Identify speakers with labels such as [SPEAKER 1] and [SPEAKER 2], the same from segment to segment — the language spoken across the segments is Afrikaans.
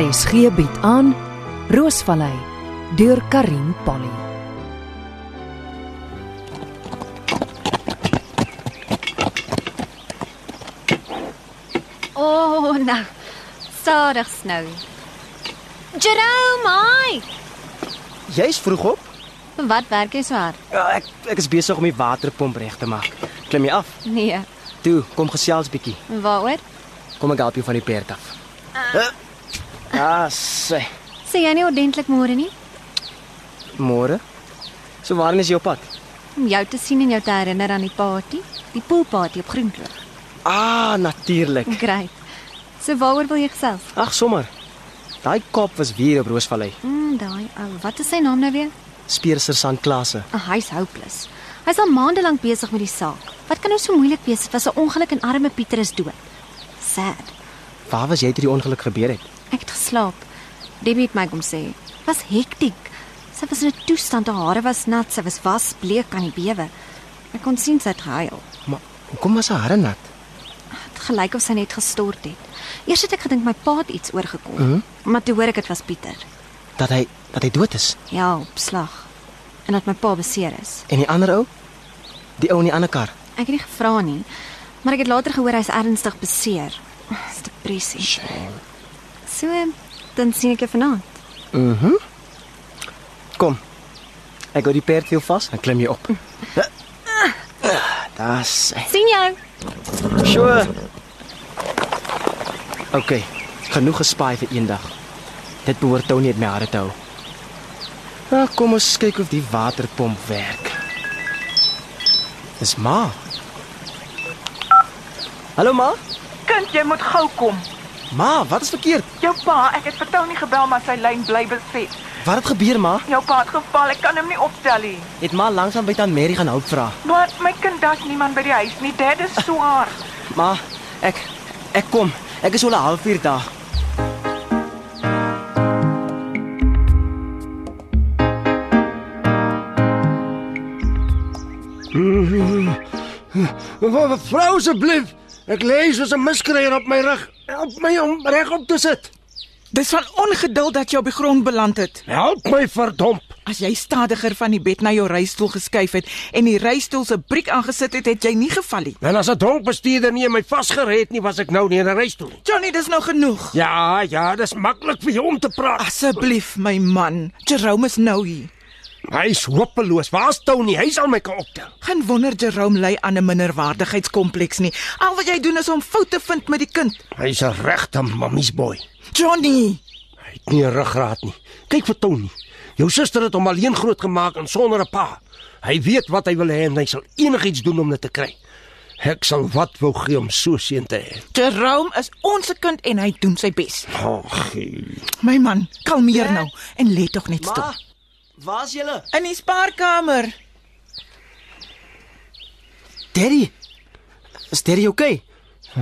[SPEAKER 1] RSG bied aan Roosvallei deur Karin Polly.
[SPEAKER 2] Oh, nou. Sadigs nou. Jerome, hi.
[SPEAKER 3] Jy's vroeg op?
[SPEAKER 2] Wat werk jy so hard?
[SPEAKER 3] Ja, ek ek is besig om die waterpomp reg te maak. Klim jy af?
[SPEAKER 2] Nee,
[SPEAKER 3] Toe, kom gesels bietjie.
[SPEAKER 2] waaroor?
[SPEAKER 3] Kom ek help jou van die perd af. Ah, sê.
[SPEAKER 2] Sê jy nie ordentlik môre nie?
[SPEAKER 3] Môre. So waarheen is jou pad?
[SPEAKER 2] Om jou te sien en jou te herinner aan die party, die poolparty op Groenkloof.
[SPEAKER 3] Ah, natuurlik.
[SPEAKER 2] Great. So waaroor wil jy gesels?
[SPEAKER 3] Ag, sommer. Daai kop was weer op Roosvallei.
[SPEAKER 2] Mm, daai ou, wat is sy naam nou weer?
[SPEAKER 3] Speersersant Klase.
[SPEAKER 2] Ah, hy's hopeless. Hy's al maande lank besig met die saak. Wat kan nou so moeilik wees? Dit was 'n ongeluk en arme Pieter is dood. Sad.
[SPEAKER 3] Waar was jy toe die ongeluk gebeur het?
[SPEAKER 2] Ek het geslaap. Debbie het my kom sê. Was hektiek. Sy was in 'n toestand, haar hare was nat, sy was wasbleek aan die bewe. Ek kon sien sy het gehuil.
[SPEAKER 3] Maar hoekom was haar hare nat?
[SPEAKER 2] Dit gelyk of sy net gestort het. Eers het ek gedink my pa het iets oorgekom, mm -hmm. maar toe hoor ek dit was Pieter.
[SPEAKER 3] Dat hy dat hy dood is.
[SPEAKER 2] Ja, op slag. En dat my pa beseer is.
[SPEAKER 3] En die ander ou? Die ou in die ander kar.
[SPEAKER 2] Ek het nie gevra nie, maar ek het later gehoor hy's ernstig beseer. Dis depressie.
[SPEAKER 3] Shame.
[SPEAKER 2] So, dan sien ek jou vanaand.
[SPEAKER 3] Mhm. Kom. Ek hou die perd veel vas en klim jy op. Das.
[SPEAKER 2] sien jou.
[SPEAKER 3] So. OK. Genoeg gespaai vir eendag. Dit behoort Tony net my hare te hou. Nou kom ons kyk of die waterpomp werk. Dis ma. Hallo ma?
[SPEAKER 4] Kind, jy moet gou kom.
[SPEAKER 3] Ma, wat is verkeerd?
[SPEAKER 4] Jou pa, ek het vir Tony gebel maar sy lyn bly besmet.
[SPEAKER 3] Wat het gebeur ma?
[SPEAKER 4] Jou pa het geval, ek kan hom nie optel nie.
[SPEAKER 3] Het ma langsaan by tant Mary gaan hulp vra.
[SPEAKER 4] Maar my kind, daar's niemand by die huis nie. Dad is swaar.
[SPEAKER 3] Ma, ek ek kom. Ek is al 'n halfuur daar.
[SPEAKER 5] Vrou asseblief, ek lê soos 'n miskryer op my rug. Help my om regop te sit.
[SPEAKER 6] Dis van ongeduld dat jy op die grond beland het.
[SPEAKER 5] Help my verdomp.
[SPEAKER 6] As jy stadiger van die bed na jou reistool geskuif het en die reistool se briek aangesit het, het jy nie geval nie.
[SPEAKER 5] En as 'n dronk bestuurder nie in my vasgered nie, was ek nou nie in 'n reis toe nie.
[SPEAKER 6] Johnny, dis nou genoeg.
[SPEAKER 5] Ja, ja, dis maklik vir jou om te praat.
[SPEAKER 6] Asseblief, my man. Jerome is nou hier.
[SPEAKER 5] Hy's hopeloos. Waar's Tony? Hy sal my kan optel.
[SPEAKER 6] Gaan wonder Jerome ly aan 'n minderwaardigheidskompleks nie. Al wat jy doen is om fout te vind met die kind.
[SPEAKER 5] Hy's 'n regte mammies boy.
[SPEAKER 6] Johnny,
[SPEAKER 5] Hy het nie 'n ruggraat nie. Kyk vir Tony. Jou suster het hom alleen grootgemaak en sonder 'n pa. Hy weet wat hy wil hê en hy sal enigiets doen om dit te kry. Ek sal wat wou gee om so seën te hê.
[SPEAKER 6] Jerome is ons kind en hy doen sy bes.
[SPEAKER 5] Ag,
[SPEAKER 6] My man, kalmeer nou en lê tog net stil.
[SPEAKER 3] Ma, waar's julle?
[SPEAKER 6] In die spaarkamer.
[SPEAKER 3] Daddy. Is Daddy okay?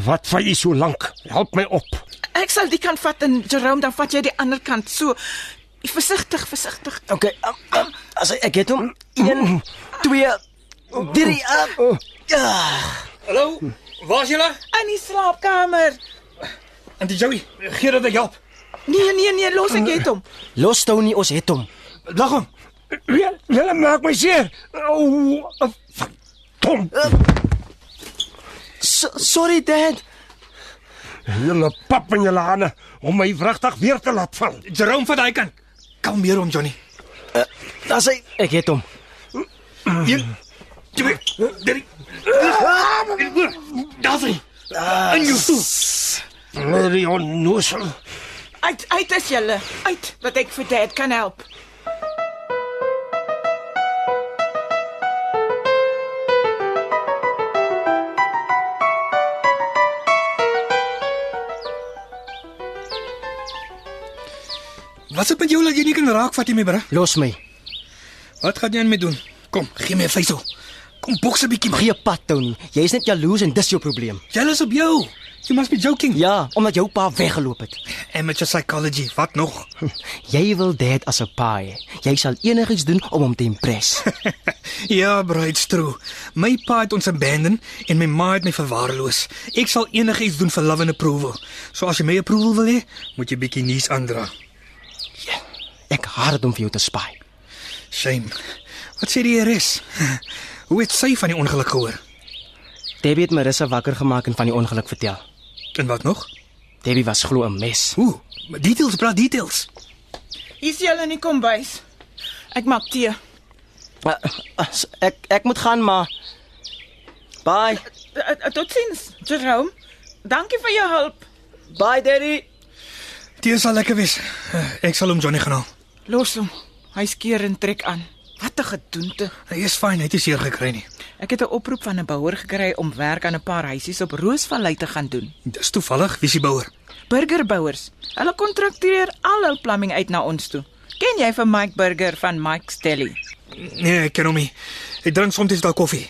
[SPEAKER 5] wat vat jy so lank? Help my op.
[SPEAKER 6] Ek sal die kant vat en Jerome dan vat jy die ander kant. So versigtig, versigtig.
[SPEAKER 3] Okay. Um, um, as ek, ek het hom 1 2 3 up. Ja.
[SPEAKER 7] Hallo, waar's julle?
[SPEAKER 6] In die slaapkamer.
[SPEAKER 7] En die Joey, gee dat ek help.
[SPEAKER 6] Nee, nee, nee, los ek het hom.
[SPEAKER 3] Los Tony, ons het hom.
[SPEAKER 7] Lag hom.
[SPEAKER 5] Hulle maak my seer. O, verdomp.
[SPEAKER 3] So, sorry dad.
[SPEAKER 5] Hulle pap in julle hande om my wrigtig weer te laat val.
[SPEAKER 7] Jerome van daai kant. Kalmeer hom, Johnny.
[SPEAKER 3] Daar's hy. Ek het hom.
[SPEAKER 7] 1 2 3 Daar's hy. En jy toe.
[SPEAKER 5] Bloody Ah, onnoosel.
[SPEAKER 6] Uit uit as julle. Uit dat ek vir Dad kan help.
[SPEAKER 7] Wat het met jou dat jy nie kan raak vat jy my bra?
[SPEAKER 3] Los my.
[SPEAKER 7] Wat gaan jy aan my doen? Kom, gee my 'n vuisel. Kom boks 'n bietjie man.
[SPEAKER 3] Gee pad Tony. Jy is net jaloers en dis jou probleem.
[SPEAKER 7] Jy is op jou. You must be joking.
[SPEAKER 3] Ja, omdat jou pa weggeloop het.
[SPEAKER 7] Amateur psychology. Wat nog?
[SPEAKER 3] Jy wil dit as 'n pa hê. Jy sal enigiets doen om hom te impress.
[SPEAKER 7] ja, bride's true. My pa het ons abandon en my ma het my verwaarloos. Ek sal enigiets doen vir love and approval. So as jy my approval wil hê, moet jy bietjie nuus aandra.
[SPEAKER 3] Ek haat dit om vir jou te spy.
[SPEAKER 7] Shame. Wat sê die RS? Hoe het sy van die ongeluk gehoor?
[SPEAKER 3] Debbie het Marissa wakker gemaak en van die ongeluk vertel.
[SPEAKER 7] En wat nog?
[SPEAKER 3] Debbie was glo 'n mes.
[SPEAKER 7] Ooh, details, praat details.
[SPEAKER 6] Hier's julle in die kombuis. Ek maak tee. Eh,
[SPEAKER 3] Uh, uh, s- Ek ek moet gaan maar. Bye.
[SPEAKER 6] Eh, eh, Totsiens, Jerome. Dankie vir jou hulp.
[SPEAKER 3] Bye Daddy.
[SPEAKER 7] Tee sal lekker wees. Ek sal hom Johnny gaan haal.
[SPEAKER 6] Los hom. Hy skeer en trek aan. Wat 'n gedoente.
[SPEAKER 7] Hy is fyn, hy het nie seer gekry nie.
[SPEAKER 6] Ek het 'n oproep van 'n bouer gekry om werk aan 'n paar huisies op Roosvallei te gaan doen.
[SPEAKER 7] Dis toevallig, wie se bouer?
[SPEAKER 6] Burgerbouers. Hulle kontrakteer al hul plumbing uit na ons toe. Ken jy vir Mike Burger van Mike's Deli?
[SPEAKER 7] Nee, ek ken hom nie. Hy drink soms daai koffie.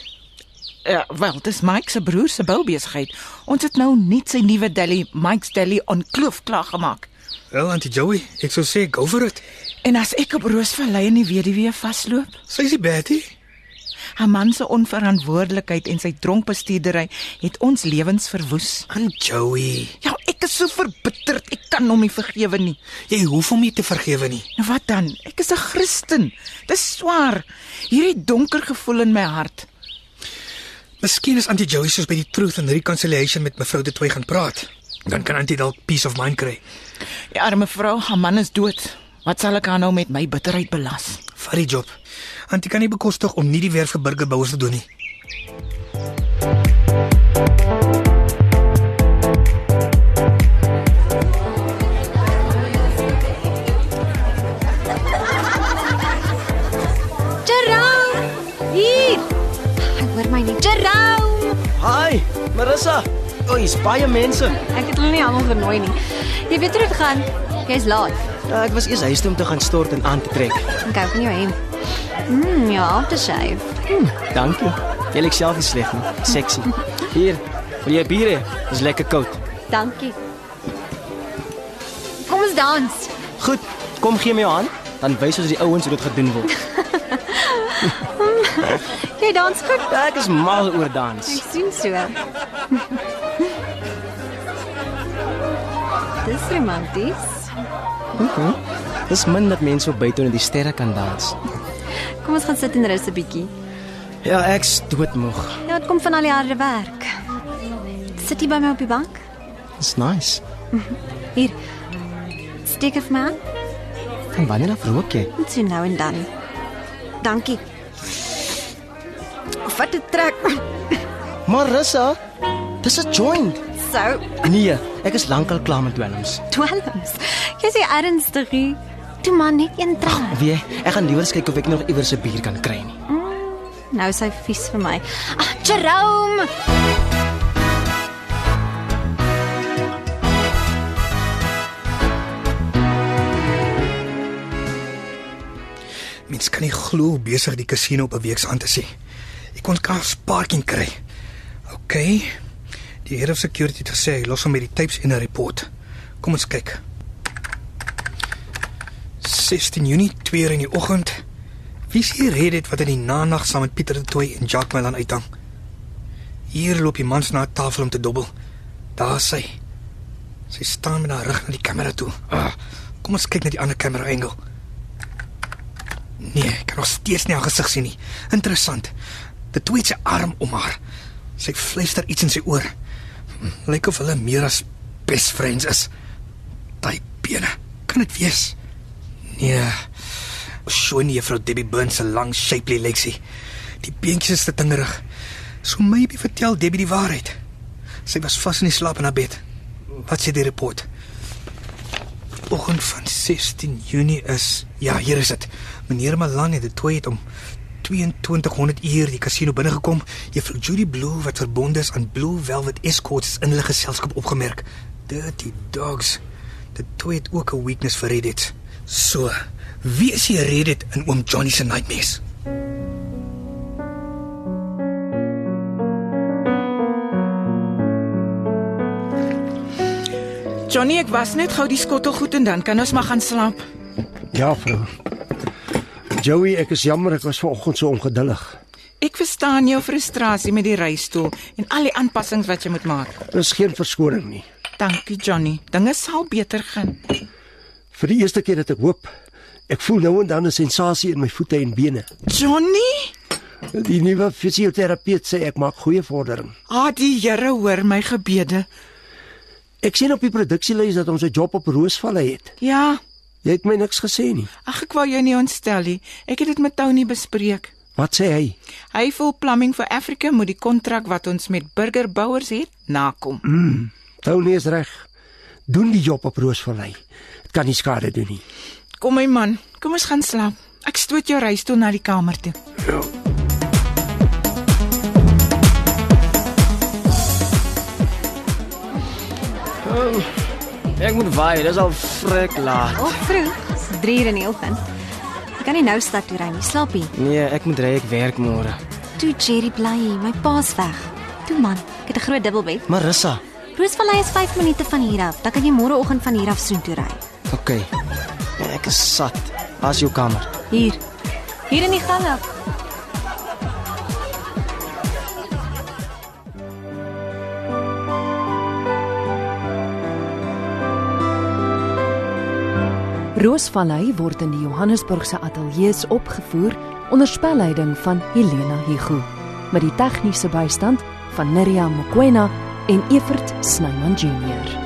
[SPEAKER 6] Ja, wel, dis Mike se broer se boubesigheid. Ons het nou net sy nuwe deli, Mike's Deli on Kloof klaar gemaak.
[SPEAKER 7] Wel, Auntie Joey, ek sou sê go vir dit.
[SPEAKER 6] En as ek op Roosvallei in die weduwee vasloop,
[SPEAKER 7] Sy's die Betty.
[SPEAKER 6] haar man se onverantwoordelikheid en sy dronkbestuurdery het ons lewens verwoes.
[SPEAKER 7] Auntie Joey,
[SPEAKER 6] Ja, ek is so verbitterd. Ek kan hom nie vergewe nie.
[SPEAKER 7] jy hoef hom nie te vergewe nie.
[SPEAKER 6] Nou wat dan? Ek is 'n Christen. Dis swaar. Hierdie donker gevoel in my hart.
[SPEAKER 7] Miskien is Auntie Joey soos by die Truth and Reconciliation met mevrou De Tooy gaan praat. Dan kan Auntie dalk peace of mind kry.
[SPEAKER 6] Die arme vrou, haar man is dood. Wat sal ek haar nou met my bitterheid belas?
[SPEAKER 7] Vat die job. Auntie kan nie bekostig om nie die werk vir burgerbouers te doen nie.
[SPEAKER 2] Jerome! Hier. Hy hoor my nie. Jerome!
[SPEAKER 3] Hi Marissa. Oei, is baie mense.
[SPEAKER 2] Ek het hulle nie almal genooi nie. Jy weet hoe dit gaan. Jy's laat.
[SPEAKER 3] Ja, ek was eers huis toe om te gaan stort en aan te trek.
[SPEAKER 2] Ek hou van jou hemp. Mm, ja, dit skryf.
[SPEAKER 3] Dankie. Jy lyk self nie sleg nie. Sexy. Hier. Wil jy bier hê? Dis lekker koud.
[SPEAKER 2] Dankie. Kom ons dans.
[SPEAKER 3] Goed, kom gee my jou hand, dan wys ons die ouens hoe dit gedoen word.
[SPEAKER 2] Jy dans goed.
[SPEAKER 3] Ek Ja, is mal oor dans.
[SPEAKER 2] Ek sien so. Dis romanties.
[SPEAKER 3] Dis min dat mense op buite onder die sterre kan dans.
[SPEAKER 2] Kom ons gaan sit en rus 'n bietjie.
[SPEAKER 3] Ja, ek's doodmoeg.
[SPEAKER 2] Ja, dit kom van al die harde werk. Sit jy by my op die bank?
[SPEAKER 3] Dis nice.
[SPEAKER 2] Hier. Steek af man.
[SPEAKER 3] En wanneer af rook jy?
[SPEAKER 2] Ons sien nou en dan. Dankie. Vat dit trek.
[SPEAKER 3] Marissa, dis 'n joint.
[SPEAKER 2] Sou
[SPEAKER 3] Nee, ek is lankal klaar met dwelms.
[SPEAKER 2] dwelms. Jy sê ernstig. hier. Toe man net een trek.
[SPEAKER 3] Wie? Ek gaan liewer kyk of ek nog iewers 'n bier kan kry nie.
[SPEAKER 2] Nou is hy vies vir my. Ah, Jerome.
[SPEAKER 7] Mens kan nie glo hoe besig die kasino op 'n week se aan te sê. Ek kon kaas parking kry. OK. Die head of security het gesê hy los hom met die tapes en 'n report. Kom ons kyk. 16 Junie 2 uur in die oggend. Wie sien red dit wat in die nanag saam met Pieter de Tooy en Jacques Malan uithang? Hier loop die mans na 'n tafel om te dobbel. Daar is sy. Sy staan met haar rug na die kamera toe. Ah, kom ons kyk na die ander kamera engel. Nee, ek kan nog steeds nie haar gesig sien nie. Interessant. Dit twee sy arm om haar. Sy fluister iets in sy oor. Hm, Lyk of hulle meer as best friends is. Daai bene. Kan dit wees? Nee. Sjoe, nee, juffrou Debbie Burns se lang shapely leksie. Die beentjies is te dingerig. So maybe vertel Debbie die waarheid. Sy was vas in die slaap in haar bed. Wat sê die rapport? oggend van 16 Junie is. Ja, hier is dit. Meneer Malan het dit het om 2200 uur die kasino binnegekom. Juffrou Judy Blue wat verbonde is aan Blue Velvet Escorts is in hulle geselskap opgemerk. Dirty dogs. Dit twee het ook 'n weakness vir Reddit. So, wie is hier Reddit in oom Johnny se nightmares?
[SPEAKER 6] Johnny, ek was net gou die skottel goed en dan kan ons maar gaan slaap.
[SPEAKER 5] Ja, vrou. Joey, ek is jammer ek was vanoggend so ongeduldig.
[SPEAKER 6] Ek verstaan jou frustrasie met die reistool en al die aanpassings wat jy moet maak.
[SPEAKER 5] Dis geen verskoning nie.
[SPEAKER 6] Dankie Johnny. Dinge sal beter gaan.
[SPEAKER 5] Vir die eerste keer dat ek hoop, ek voel nou en dan 'n sensasie in my voete en bene.
[SPEAKER 6] Johnny?
[SPEAKER 5] Die nuwe fisioterapeut sê ek maak goeie vordering.
[SPEAKER 6] Ah, die Here hoor my gebede.
[SPEAKER 5] Ek sien op die produksielys dat ons 'n job op Roosvallei het.
[SPEAKER 6] Ja,
[SPEAKER 5] Jy het my niks gesê nie.
[SPEAKER 6] ag ek wou jou nie ontstel nie. Ek het dit met Tony bespreek.
[SPEAKER 5] Wat sê hy?
[SPEAKER 6] Hy voel Plumbing for Africa moet die kontrak wat ons met burgerbouers het nakom.
[SPEAKER 5] Tony is reg. Doen die job op Roosvallei. Dit kan nie skade doen nie.
[SPEAKER 6] Kom my man, kom ons gaan slaap. Ek stoot jou reistool na die kamer toe.
[SPEAKER 3] Ek moet waai, dis al frik laat.
[SPEAKER 2] Op vroeg, is 3 uur in die oggend. Ek kan nie nou stad toe ry nie, slaapie.
[SPEAKER 3] Nee, ek moet ry, ek werk môre.
[SPEAKER 2] Toe Jerry bly, my pa's weg. Toe man, ek het 'n groot dubbelbed.
[SPEAKER 3] Marissa.
[SPEAKER 2] Roosvallei is 5 minute van hier af. Dan kan jy môreoggend van hier af soontoe ry.
[SPEAKER 3] OK. Ek Ja, is sat. As jou kamer.
[SPEAKER 2] Hier. Hier in die gang af.
[SPEAKER 1] Roosvallei word in die Johannesburgse ateljees opgevoer onder spelleiding van Helena Hugo met die tegniese bystand van Neriya Mokoena en Evert Snyman Junior.